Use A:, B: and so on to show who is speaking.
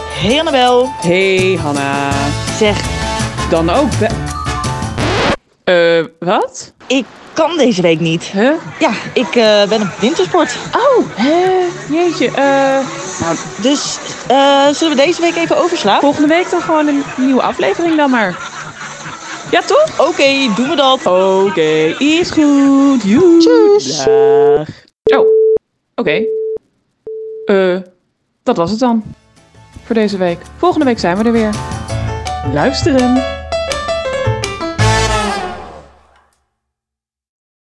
A: Hey Annabel.
B: Hey Hanna.
A: Zeg,
B: Dan ook. Be- Eh, wat?
A: ik kan deze week niet.
B: Huh?
A: Ja, ik eh, ben op wintersport. Ah,
B: Oh, hè? Jeetje. eh, nou,
A: Dus eh, zullen we deze week even overslaan?
B: volgende week dan gewoon een nieuwe aflevering dan maar. Ja, toch?
A: Oké, doen we dat.
B: Oké, is goed. Joe.
A: Tjus.
B: Dag. Oh, oké. Eh, dat was het dan. Voor deze week. Volgende week zijn we er weer. Luisteren.